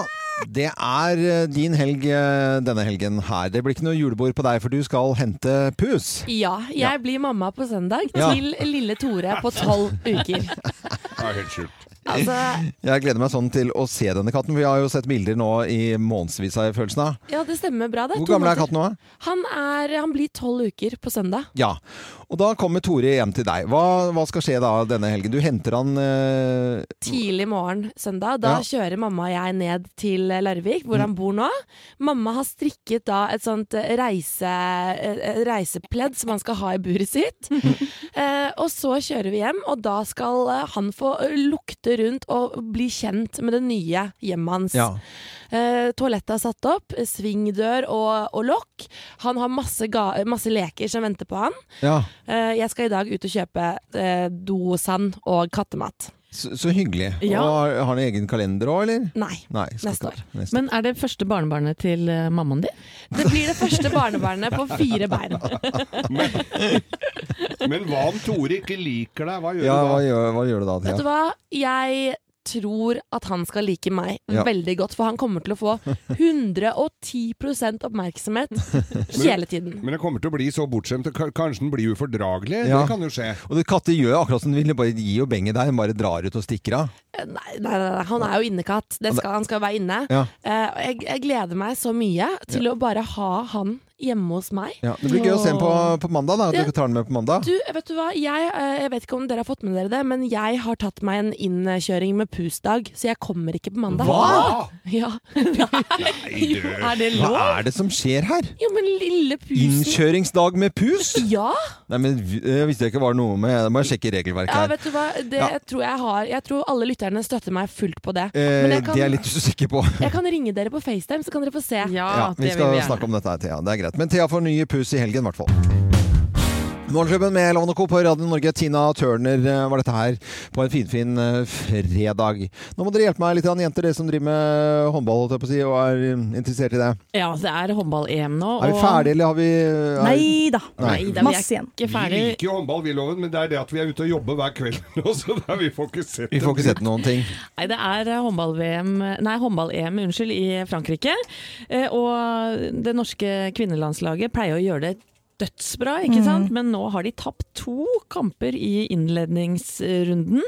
A: det er eh, din helg eh, denne helgen her. Det blir ikke noe julebord på deg, for du skal hente pus.
B: Ja, jeg blir mamma på søndag
A: Ja.
B: til lille Tore på tolv uker.
A: *laughs*
D: Det er helt sjukt.
B: Altså,
A: Jeg gleder meg sånn til å se denne katten, for vi har jo sett bilder nå i månedsvis, har jeg følelsen av.
B: ja, det stemmer bra. Det
A: Hvor
B: to
A: gammel er
B: måneder.
A: katten nå? da?
B: Han, er, han blir tolv uker på søndag.
A: Ja, og da kommer Tore hjem til deg. Hva, hva skal skje da denne helgen? Du henter han eh,
B: Tidlig morgen søndag. Da
A: Ja. Mm.
B: kjører mamma og jeg ned til Larvik, hvor han bor nå. Mamma har strikket da et sånt eh, reise, eh, reisepledd som han skal ha i buret
A: *laughs*
B: sitt. eh, og så kjører vi hjem, og da skal eh, han få eh, lukte rundt og bli kjent med det nye hjemmet hans.
A: Ja.
B: Eh, toalettet er satt opp, eh, svingdør og, og lokk. Han har masse, ga masse leker som venter på han.
A: Ja,
B: Eh, jeg skal i dag ut og kjøpe eh, dosand og kattemat.
A: så, så hyggelig.
E: Ja.
A: Og har, har han egen kalender òg, eller?
B: Nei.
A: Nei skal
B: Neste
A: ikke- Neste.
E: Men er det første barnebarnet til eh, mammaen din?
B: Det blir det første barnebarnet på fire bein.
D: Men hva om Tore ikke liker deg? Hva gjør
A: Ja,
D: du da?
A: hva gjør, hva gjør du da,
B: Vet
A: Thea?
B: du hva? Jeg tror at han skal like meg
A: Ja.
B: veldig godt, for han kommer til å få 110 oppmerksomhet hele tiden.
D: Men jeg kommer til å bli så bortskjemt. K- Kanskje den blir ufordragelig?
A: Ja.
D: Det kan jo skje.
A: Og det katter gjør akkurat som den vil, den bare gir jo benget deg, den bare drar ut og stikker av.
B: Eh, Nei, nei, nei, nei, han er jo innekatt. Det skal, han skal være inne.
A: Ja.
B: Eh, og jeg, jeg gleder meg så mye til å bare ha han hjemme hos meg.
A: Ja, det blir gøy å se den på, på mandag, da. Du tar den med på mandag.
B: Du, vet du hva? Jeg, eh, jeg vet ikke om dere har fått med dere det, men jeg har tatt meg en innkjøring med pusdag, så jeg kommer ikke på mandag.
A: Hva?
D: Ah,
B: Ja.
D: Jo,
E: Er det
A: Hva
E: lov?
A: er det som skjer her?
B: Jo, men lille pusen.
A: Innkjøringsdag med pus?
B: Ja.
A: Nei, men vi- jeg visste ikke det var noe med Da må jeg sjekke regelverket
B: ja,
A: her.
B: vet du hva? Det
A: Ja.
B: tror jeg har Jeg tror alle lytterne støtter meg fullt på det. Men
A: Eh,
B: jeg kan,
A: Det er jeg litt usikker på.
B: jeg kan ringe dere på FaceTime, så kan dere få se.
E: Ja,
A: Ja, vi
E: Ah, det
A: skal
E: vil vi gjerne.
A: snakke om dette her, Thea. Det er greit. Men Thea får nye pus i helgen, i hvert fall. Morgenklubben med Lovende Co. på Radio Norge. Tina Turner eh, var dette her på en finfin fin eh, fredag. Nå må dere hjelpe meg litt, grann, jenter, dere som driver med håndball holdt jeg på å si, og er eh, interessert i det.
E: Ja, det er håndball-EM nå.
A: Er vi
E: og-
A: ferdige, eller har vi er...
E: Nei da. Nei da, vi er Masse igjen. ikke
D: Vi
E: ferdig.
D: liker jo håndball, vi, Loven, men det er det at vi er ute og jobber hver kveld nå, *laughs* så det er- vi får ikke sett
A: Vi får ikke sett noen ting.
E: Nei, det er eh, håndball-VM Nei, håndball-EM, unnskyld, i Frankrike. Eh, Og det norske kvinnelandslaget pleier å gjøre det dødsbra, ikke
L: Mhm.
E: sant? Men nå har de tapt to kamper i innledningsrunden.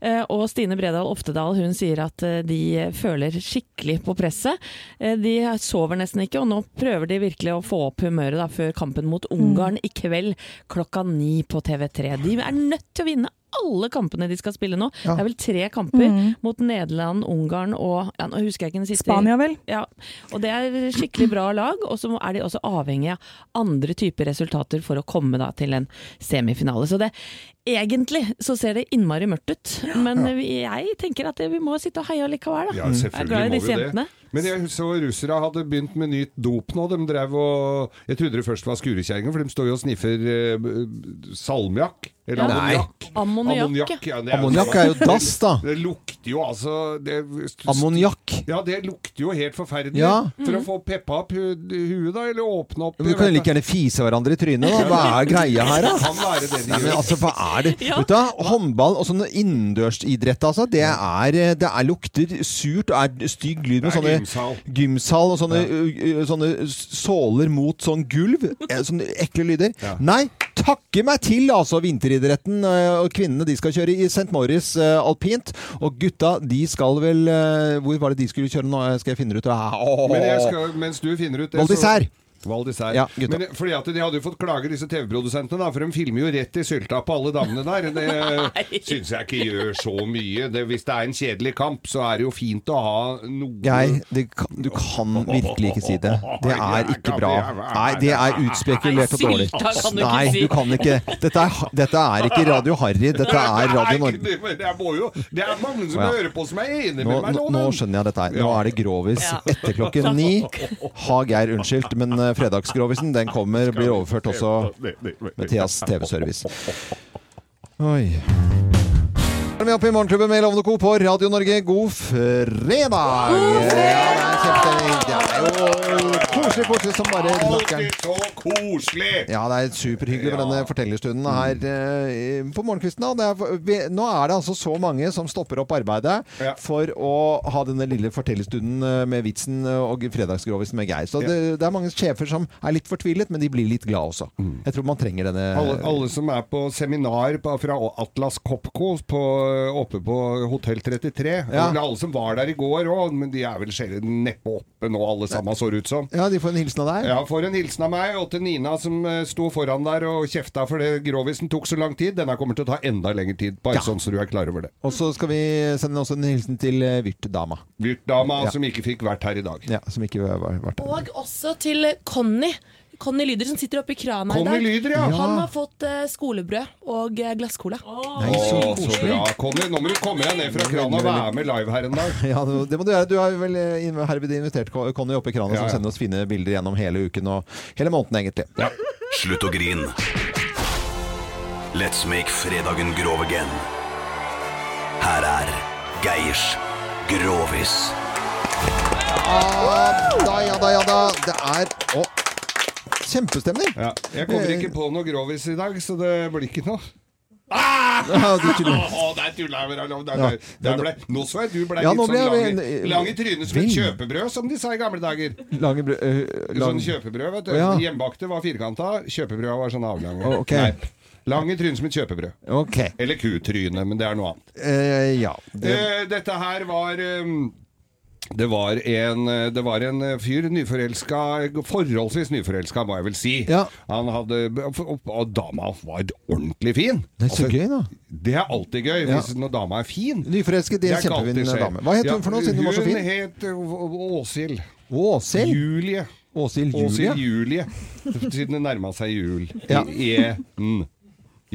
E: Eh, Og Stine Bredal Oftedal hun sier at eh, de føler skikkelig på presset. Eh, De sover nesten ikke, og nå prøver de virkelig å få opp humøret da, før kampen mot Ungarn i kveld klokka ni på TV3. De er nødt til å vinne alle kampene de skal spille nå. Det er vel tre kamper
L: Mm.
E: mot Nederland, Ungarn og ja, nå husker jeg ikke den siste.
L: Spania, vel?
E: Ja. Og det er skikkelig bra lag, og så er de også avhengig av andre typer resultater for å komme da, til en semifinale. Så det Egentlig så ser det innmari mørkt ut, men vi- jeg tenker at vi må sitte og heie likevel. Da.
D: Ja,
E: Mm. jeg er
D: selvfølgelig
E: glad i
D: må
E: disse
D: vi
E: jentene.
D: det. Men jeg så russere hadde begynt med nytt dop nå. De drev og Jeg trodde det først var skurekjerringer, for de står jo og sniffer eh, b- salmiakk. Eller
E: Ja. Nei.
D: ammoniakk.
E: Ammoniakk,
D: ja, det
A: Ammoniakk er jo dass, da.
D: Det lukter jo altså det-
A: Ammoniakk.
D: Ja, det lukter jo helt forferdelig.
A: Ja.
D: For
E: Mm.
D: å få peppa opp hu huet, da, eller åpne opp
A: Vi kan jo like gjerne fise hverandre i trynet, da. Hva er greia her, da?
D: Det kan være det de
A: Nei, men
D: gjør.
A: altså, hva er det? Vet du, hva? håndball og sånne innendørsidrett, altså. Det er, det er lukter surt og er stygg lyd med
D: Det
A: sånne
D: er gymsal.
A: gymsal og sånne, ø, ø, sånne såler mot sånn gulv. Eh, Sånne ekle lyder. Nei! Takke meg til, altså, vinteridretten. eh, Og kvinnene de skal kjøre i St. Morris eh, alpint. Og gutta, de skal vel eh, Hvor var det de skulle kjøre nå? Skal jeg finne det ut? Ah, åh.
D: Men jeg skal, mens du finner ut det
A: Val d'Isère.
D: så- Val d'Isère.
A: Ja, gutta.
D: Men fordi at de hadde jo fått klager, disse TV-produsentene, da, for de filmer jo rett i sylta på alle
A: *laughs*
D: damene der. Det syns jeg ikke gjør så mye. Det, hvis det er en kjedelig kamp, så er det jo fint å ha noe
A: Jeg, det kan, du kan virkelig ikke si det. Det er ikke bra. Nei, det er utspekulert og dårlig.
D: Nei, sylta kan du ikke
A: Nei,
D: si.
A: du kan ikke. Dette er, dette er ikke Radio Harry, dette er Radio Norge.
D: *laughs* Nei, det, er- må jo, det er mange som
A: Ja.
D: hører på som er enig
A: Nå,
D: med meg
A: nå, nå
D: nå. men-
A: skjønner jeg dette her. Nå er det grovis etter klokken ni. Har Geir unnskyldt, men eh, fredagsgrovisen den kommer, blir overført også Mathias TV-service. Oi. Er du med opp i Morgenklubben med Lovende Co på Radio Norge. God fredag! God fredag! Ja, det er jo koselig, koselig som bare rakkeren.
D: Alltid så koselig!
A: Ja, det er superhyggelig med denne fortellerstunden her eh, i- på morgenkvisten. Da. Det er, vi, nå er det altså så mange som stopper opp arbeidet for å ha denne lille fortellerstunden eh, med vitsen eh, og fredagsgrovisen med Geir. Så det, det er mange sjefer som er litt fortvilet, men de blir litt glad også. Jeg tror man trenger denne
D: Alle, alle som er på seminar på, fra Atlas Copco på, oppe på Hotell 33
A: Ja.
D: Eller alle som var der i går òg, men de er vel sjelden neppe oppe nå, alle sammen, så det ut som.
A: Ja, de får en hilsen av deg.
D: Ja, får en hilsen av meg og til Nina som eh, sto foran der og kjefta fordi grovisen tok så lang tid. Denne kommer til å ta enda lengre tid, bare sånn så du er klar over det.
A: Og så skal vi sende også en hilsen til eh, Vyrt-dama.
D: Dama
A: Ja.
D: som ikke fikk vært her i dag.
A: Ja, som ikke var, var der.
B: Og også til Conny. Conny Lyder som sitter oppe i krana i
D: Conny
B: dag.
D: Lyder, ja. Ja.
B: Han har fått eh, skolebrød og eh, glasscola.
A: Nei, så
D: Å, så
A: koselig.
D: bra. Conny, nå må du komme deg ned fra krana og være med live her en dag.
A: Ja, det det må du gjøre. Du har vel eh, in- herved invitert Con- Conny opp i krana,
D: Ja, ja.
A: som sender oss fine bilder gjennom hele uken og hele måneden, egentlig.
J: Slutt å grine. Let's make fredagen grov again. Her er Geirs Grovis.
A: Ja da, ja da, ja da. Det er å, kjempestemning.
D: Ja, Jeg kommer ikke på noe grovis i dag, så det blir ikke noe.
A: Eh, Ja, du tuller.
D: Å, der tulla jeg med deg, Lov. Der
A: Ja,
D: ble- der
A: men-
D: ble- Nå så jeg du ble
A: Ja,
D: litt
A: nå
D: sånn
A: ble jeg eh,
D: lang, i-
A: vel-
D: lang i trynet som et
A: Vil.
D: kjøpebrød, som de sa i gamle dager.
A: Lange brød eh,
D: Sånn kjøpebrød, vet du.
A: Ja.
D: Hjemmebakte var firkanta, kjøpebrøda var sånn avlange.
A: Å, ok.
D: Lang i trynet som et kjøpebrød.
A: Ok.
D: Eller kutryne, men det er noe annet.
A: Eh, ja. Det,
D: Eh, dette her var ehm, det var, en, eh, det var en eh, fyr, nyforelska, forholdsvis nyforelska, må jeg vel si. Han hadde, og, og dama var ordentlig fin.
A: det er så
D: Altså,
A: gøy, da.
D: det er alltid gøy hvis når dama er fin.
A: Nyforelsket i en
D: ikke alltid
A: kjempefin
D: skjer.
A: dame. Hva het hun
D: Ja,
A: for noe, siden hun var så fin?
D: Hun het uh, Å- Åshild.
A: Åshild?
D: Julie.
A: Åshild Julie?
D: Åshild Julie. Siden det nærma seg jul.
A: Ja.
D: E-n.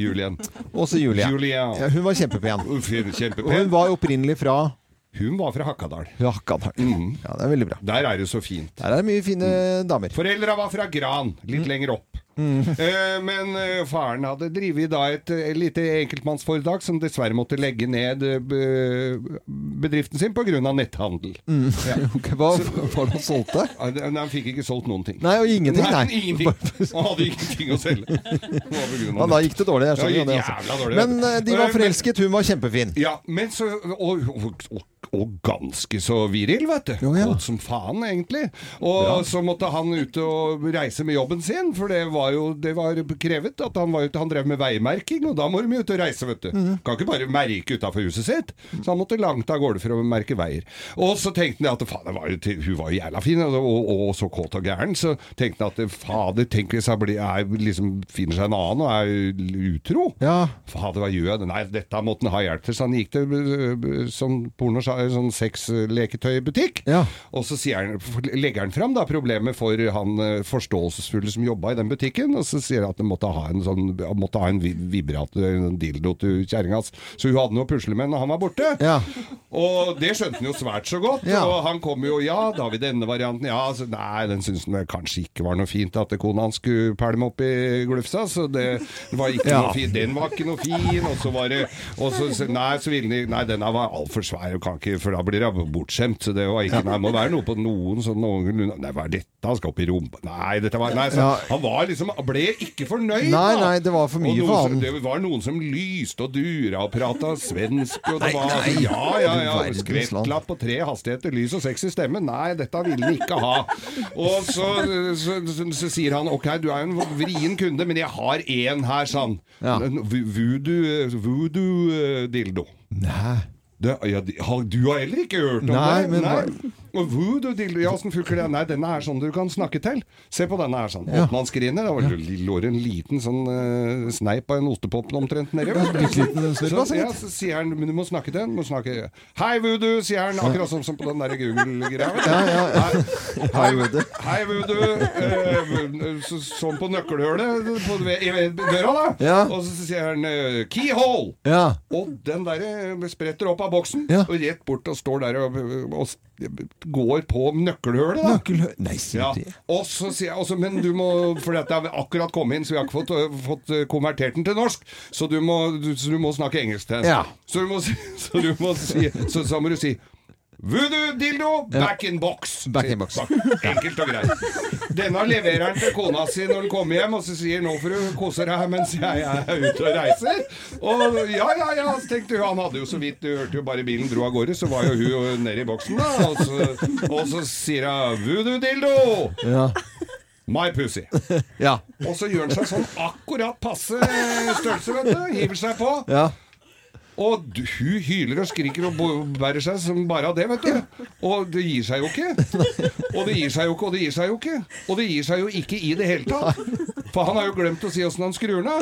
D: Julien.
A: Åse Julie. Ja, hun var kjempepen.
D: Hun fin- kjempepen.
A: Og hun var opprinnelig fra Mhm.
D: Hun var fra Hakadal.
A: Hakadal. Ja, det er veldig bra.
D: Der er det så fint.
A: Der er det mye fine damer. Mm.
D: Foreldra var fra Gran, litt lenger opp. Eh, men eh, faren hadde drevet da et eh, lite enkeltmannsforetak som dessverre måtte legge ned eh, be- bedriften sin pga. netthandel.
A: *laughs*
D: Ja.
A: Mm. Hva var det han
D: *laughs*
A: solgte?
D: Nei, Han fikk ikke solgt noen ting.
A: Nei, og ingenting, nei. *laughs*
D: ingenting. Han hadde ingenting å selge.
A: Ja, da gikk det dårlig. Jeg skjønner jo det.
D: Jævla
A: Altså.
D: dårlig.
A: Men eh, de
D: Eh,
A: var
D: men-
A: forelsket, hun var kjempefin.
D: Ja, men så Og, og, og, og ganske så viril, vet du. Godt som faen, egentlig. Og så måtte han ut og reise med jobben sin, for det var jo det var krevet at han var ute Han drev med veimerking, og da må de ut og reise, vet du. Kan ikke bare merke utafor huset sitt. Så han måtte langt av gårde for å merke veier. Og så tenkte han at faen, det var jo til, hun var jo jævla fin, og, og, og så kåt og gæren, så tenkte han at fader, tenk hvis han blir, er, liksom finner seg en annen og er utro. Fader, hva gjør jeg? Nei, dette måtte han ha hjelp til. Så han gikk til øh, sånn, porno, sånn sexleketøybutikk, og så sier han, legger han fram da, problemet for han øh, forståelsesfulle som jobba i den butikken, og så sier han at han måtte ha en, sånn, han måtte ha en vi- vibrator, en dildo til kjerringa hans. Så hun hadde noe å pusle med når han var borte. Og det skjønte han jo svært så godt.
A: Ja.
D: Og han kom jo Ja, da har vi denne varianten. Ja, så, nei, den syntes han vel kanskje ikke var noe fint at kona hans skulle pælme opp i glufsa, så det var ikke
A: Ja.
D: noe fint. Den var ikke noe fin, og så var det og så, så- Nei, så ville de Nei, denne var altfor svær, og kan ikke, for da blir hun bortskjemt. Så det var ikke Nei, det må være noe på noen sånn noenlunde Nei, hva er dette? Han skal opp i rumpa Nei, dette var Nei, så
A: Ja.
D: han var liksom Han ble ikke fornøyd,
A: Nei,
D: da.
A: nei, det var for
D: Og
A: mye
D: noen
A: for
D: som-
A: han.
D: Det var noen som lyste og dura og prata svensk, og
A: Nei,
D: det var
A: nei.
D: Ja, ja, ja.
A: Du verdens land.
D: Skvettlapp klapp og tre hastigheter, lys og sexy stemme. Nei, dette ville han ikke ha. Og så, så, så, så sier han ok, du er en vrien kunde, men jeg har én her, sa han. En vo- Voodoo, voodoo eh, dildo.
A: Nei.
D: Det, ja, de- har- du har heller ikke hørt om
A: Nei,
D: det?
A: men
D: Og voodoo dildo, ja, åssen funker det? Nei, denne er sånn du kan snakke til. Se på denne her, sånn.
A: Ja.
D: Åttmannsgriner. Da var det lå det en liten sånn eh, sneip av en ostepop omtrent nedi.
A: Ja, bitte liten snurr,
D: Så,
A: altså,
D: ja,
A: gitt.
D: så sier han, men du må snakke til den. Må snakke. Hei, voodoo, sier han, akkurat sånn som på den der Google-greia. vet du.
A: Ja, ja, ja.
D: Hei,
A: Hei, voodoo.
D: Hei, voodoo. Eh, så- Sånn på nøkkelhølet på, ved, i ved døra, da.
A: Ja.
D: Og så sier han eh, keyhole.
A: Ja.
D: Og den der eh, spretter opp av boksen
A: Ja.
D: og rett bort og står der og, eh, og s- går på nøkkelhølet. Da.
A: Nøkkelhø- Nei, sier
D: Ja.
A: du det?
D: Og så sier jeg også, men du må For dette har akkurat kommet inn, så vi har ikke fått, øh, fått øh, konvertert den til norsk. Så du må, du, så du må snakke engelsk til den.
A: Ja.
D: Så, du må, si- så, du må si, så, så må du si Voodoo dildo, back in box.
A: Back in box.
D: Enkelt og greit. Denne leverer han til kona si når han kommer hjem, og så sier 'nå får du kose deg mens jeg er ute og reiser'. Og ja, ja, ja, så tenkte hun. Han hadde jo så vidt, du hørte jo bare bilen dro av gårde, så var jo hun nede i boksen, da. Og så, og så sier hun 'voodoo dildo'.
A: Ja.
D: My pussy.
A: ja.
D: Og så gjør han seg sånn akkurat passe størrelse, vet du. Hiver seg på.
A: ja.
D: Og du- hun hyler og skriker og bo- bærer seg som bare av det, vet du. Og det gir seg jo ikke. Og det gir seg jo ikke, og det gir seg jo ikke. Og det gir seg jo ikke i det hele tatt. For han har jo glemt å si åssen han skrur den av.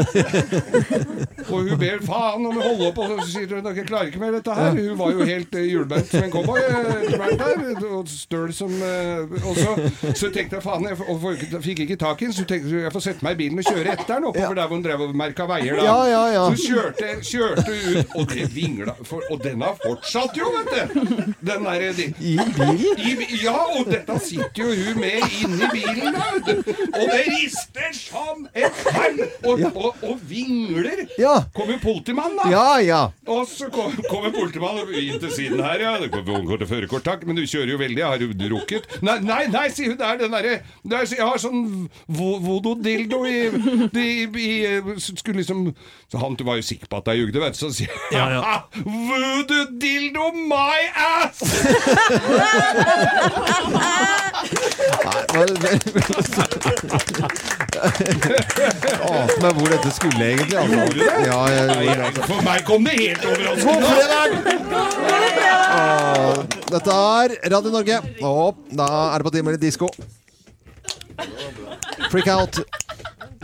D: Og hun ber faen om å holde opp, og så sier hun at hun klarer ikke mer dette her. Hun var jo helt eh, hjulbeint som en cowboy eh, etter hvert der, og støl som eh, Og så, så tenkte jeg faen, jeg får- og får ikke- fikk ikke tak i den, så tenkte jeg jeg får sette meg i bilen og kjøre etter den oppover der hvor hun drev og merka veier. da.
A: Ja, ja, ja.
D: Så kjørte, kjørte ut, og det vingla for, Og den har fortsatt jo, vet du! Den der, de,
A: I bilen?
D: i, ja, og dette sitter jo hun med inni bilen, da, vet du. Og det rister som et fell! Og, og, og vingler!
A: Ja.
D: Kommer politimannen, da.
A: Ja, ja.
D: Og så kom- kommer politimannen inn til siden her, ja. Det kommer Vognkort og førerkort, takk. Men du kjører jo veldig, har du rukket? Nei, nei, nei, sier hun. Det er den derre det er- Jeg har sånn vo- vododildo i, i, i så Skulle liksom så Han var jo sikker på at jeg jugde, vet du. Så sier jeg ja, Voodoo-dildo my ass!
A: Nei, men- *laughs* men- Jeg Ante meg hvor dette skulle egentlig. Altså. Ja, jeg gjorde det. Altså.
D: For meg kom det helt
A: God
D: overraskende.
A: fredag! Åh, Dette er Radio Norge, og da er det på tide med litt disko. Freak out.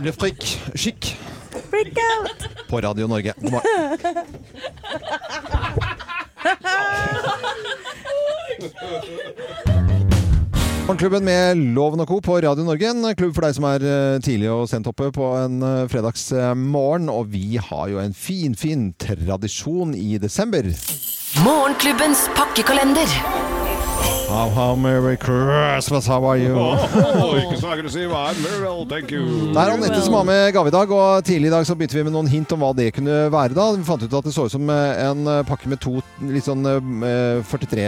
A: Le freak chic. På Radio Norge. God morgen. Morgenklubben med Loven og Co. på Radio Norge. En klubb for deg som er eh, tidlig og sent oppe på en eh, fredagsmorgen. Og vi har jo en finfin fin tradisjon i desember.
I: Morgenklubbens pakkekalender.
A: How, how merry Christmas, how are you?
D: Åh, ikke så aggressiv. I'm very well, thank you.
A: Det er Anette som har med gave i dag, og tidlig i dag så begynte vi med noen hint om hva det kunne være. da. Vi fant ut at det så ut som eh, en eh, pakke med to litt sånn eh, 43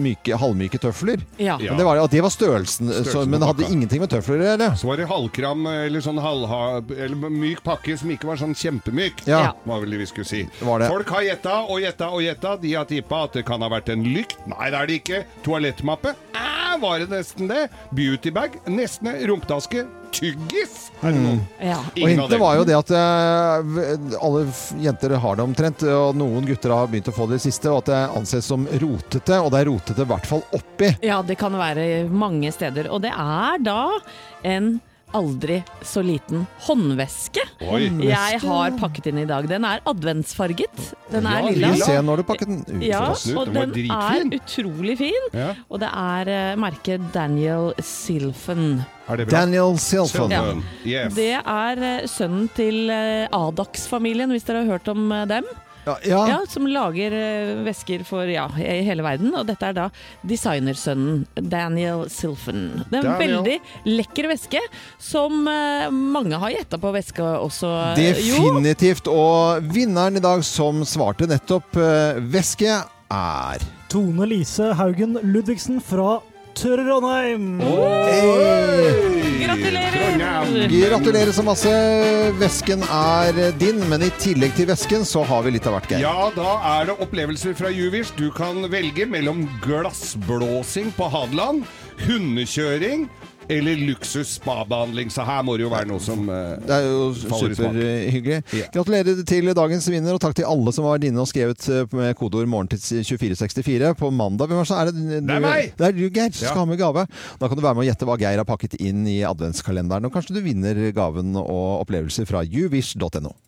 A: myke, halvmyke tøfler.
D: Ja.
A: Men det var, det- og det var størrelsen, så,
D: Størrelsen
A: men det
D: på
A: hadde
D: pakka.
A: ingenting med tøfler å gjøre.
D: Så var det halvkram eller sånn halvha... Eller myk pakke som ikke var sånn kjempemyk,
A: Ja.
D: var vel det vi skulle si.
A: var det.
D: Folk har gjetta og gjetta og gjetta. De har tippa at det kan ha vært en lykt. Nei, det er det ikke. Toalettmappe? Æ, var det nesten det? Beautybag? Nesten det. Rumpetaske? Tyggis?
E: Ja.
A: Mm. Og
D: Ingen av
A: hintet
D: delene.
A: var jo det at eh, v- alle f- jenter har det omtrent, og noen gutter har begynt å få det i det siste, og at det anses som rotete, og det er rotete i hvert fall oppi.
E: Ja, det kan være mange steder. Og det er da en aldri så liten håndveske
A: Oi.
E: jeg har pakket inn i dag. Den er adventsfarget. Den er
A: Ja,
E: lilla.
A: vi ser når du pakket den ut.
E: Ja,
A: Snutt,
E: og
A: den var
E: den er
A: dritfin.
E: utrolig fin.
A: Ja.
E: Og det er eh, merket Daniel Silfen.
A: Daniel Silfon.
E: Ja. Det er eh, sønnen til eh, Adax-familien, hvis dere har hørt om eh, dem.
A: Ja, ja.
E: Som lager eh, vesker for ja, i hele verden. Og dette er da designersønnen Daniel Silfen. Det er en
A: Daniel.
E: veldig lekker veske, som eh, mange har gjetta på veske også. Eh, Jo,
A: Definitivt. Og vinneren i dag som svarte nettopp eh, væske, er
L: Tone Lise Haugen Ludvigsen fra Trondheim.
A: Gratulerer! Gratulerer så masse. Vesken er din, men i tillegg til vesken så har vi litt av hvert, Geir.
D: Ja, da er det opplevelser fra Juvis. Du kan velge mellom glassblåsing på Hadeland, hundekjøring eller luksus spabehandling. Så her må det jo være noe som eh,
A: Det er jo
D: faller i smak.
A: superhyggelig. Gratulerer til dagens vinner, og takk til alle som var inne og skrevet eh, med kodeord 'morgen til 2464'. På mandag hvem er det som- er det,
D: Det er meg!
A: Det er du, Geir, som
D: Ja.
A: skal ha med gave. Da kan du være med og gjette hva Geir har pakket inn i adventskalenderen, og kanskje du vinner gaven og opplevelser fra youwish.no.